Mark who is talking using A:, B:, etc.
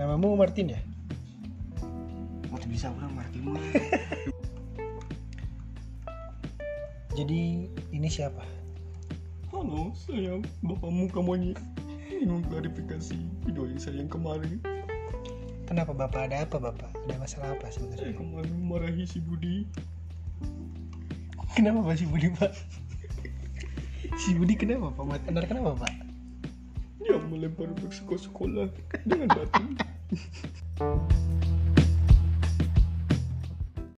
A: Kamu Martin ya?
B: Mau bisa orang Martin mah.
A: Jadi ini siapa?
B: Halo, saya bapakmu kamu ingin klarifikasi video saya yang kemarin.
A: Kenapa Bapak? Ada apa Bapak? Ada masalah apa sebenarnya?
B: Saya kemarin marahi si Budi.
A: Kenapa Pak si Budi Pak? si Budi kenapa Pak? Muhammad Anar kenapa Pak?
B: Dia melempar bersekolah sekolah dengan batu.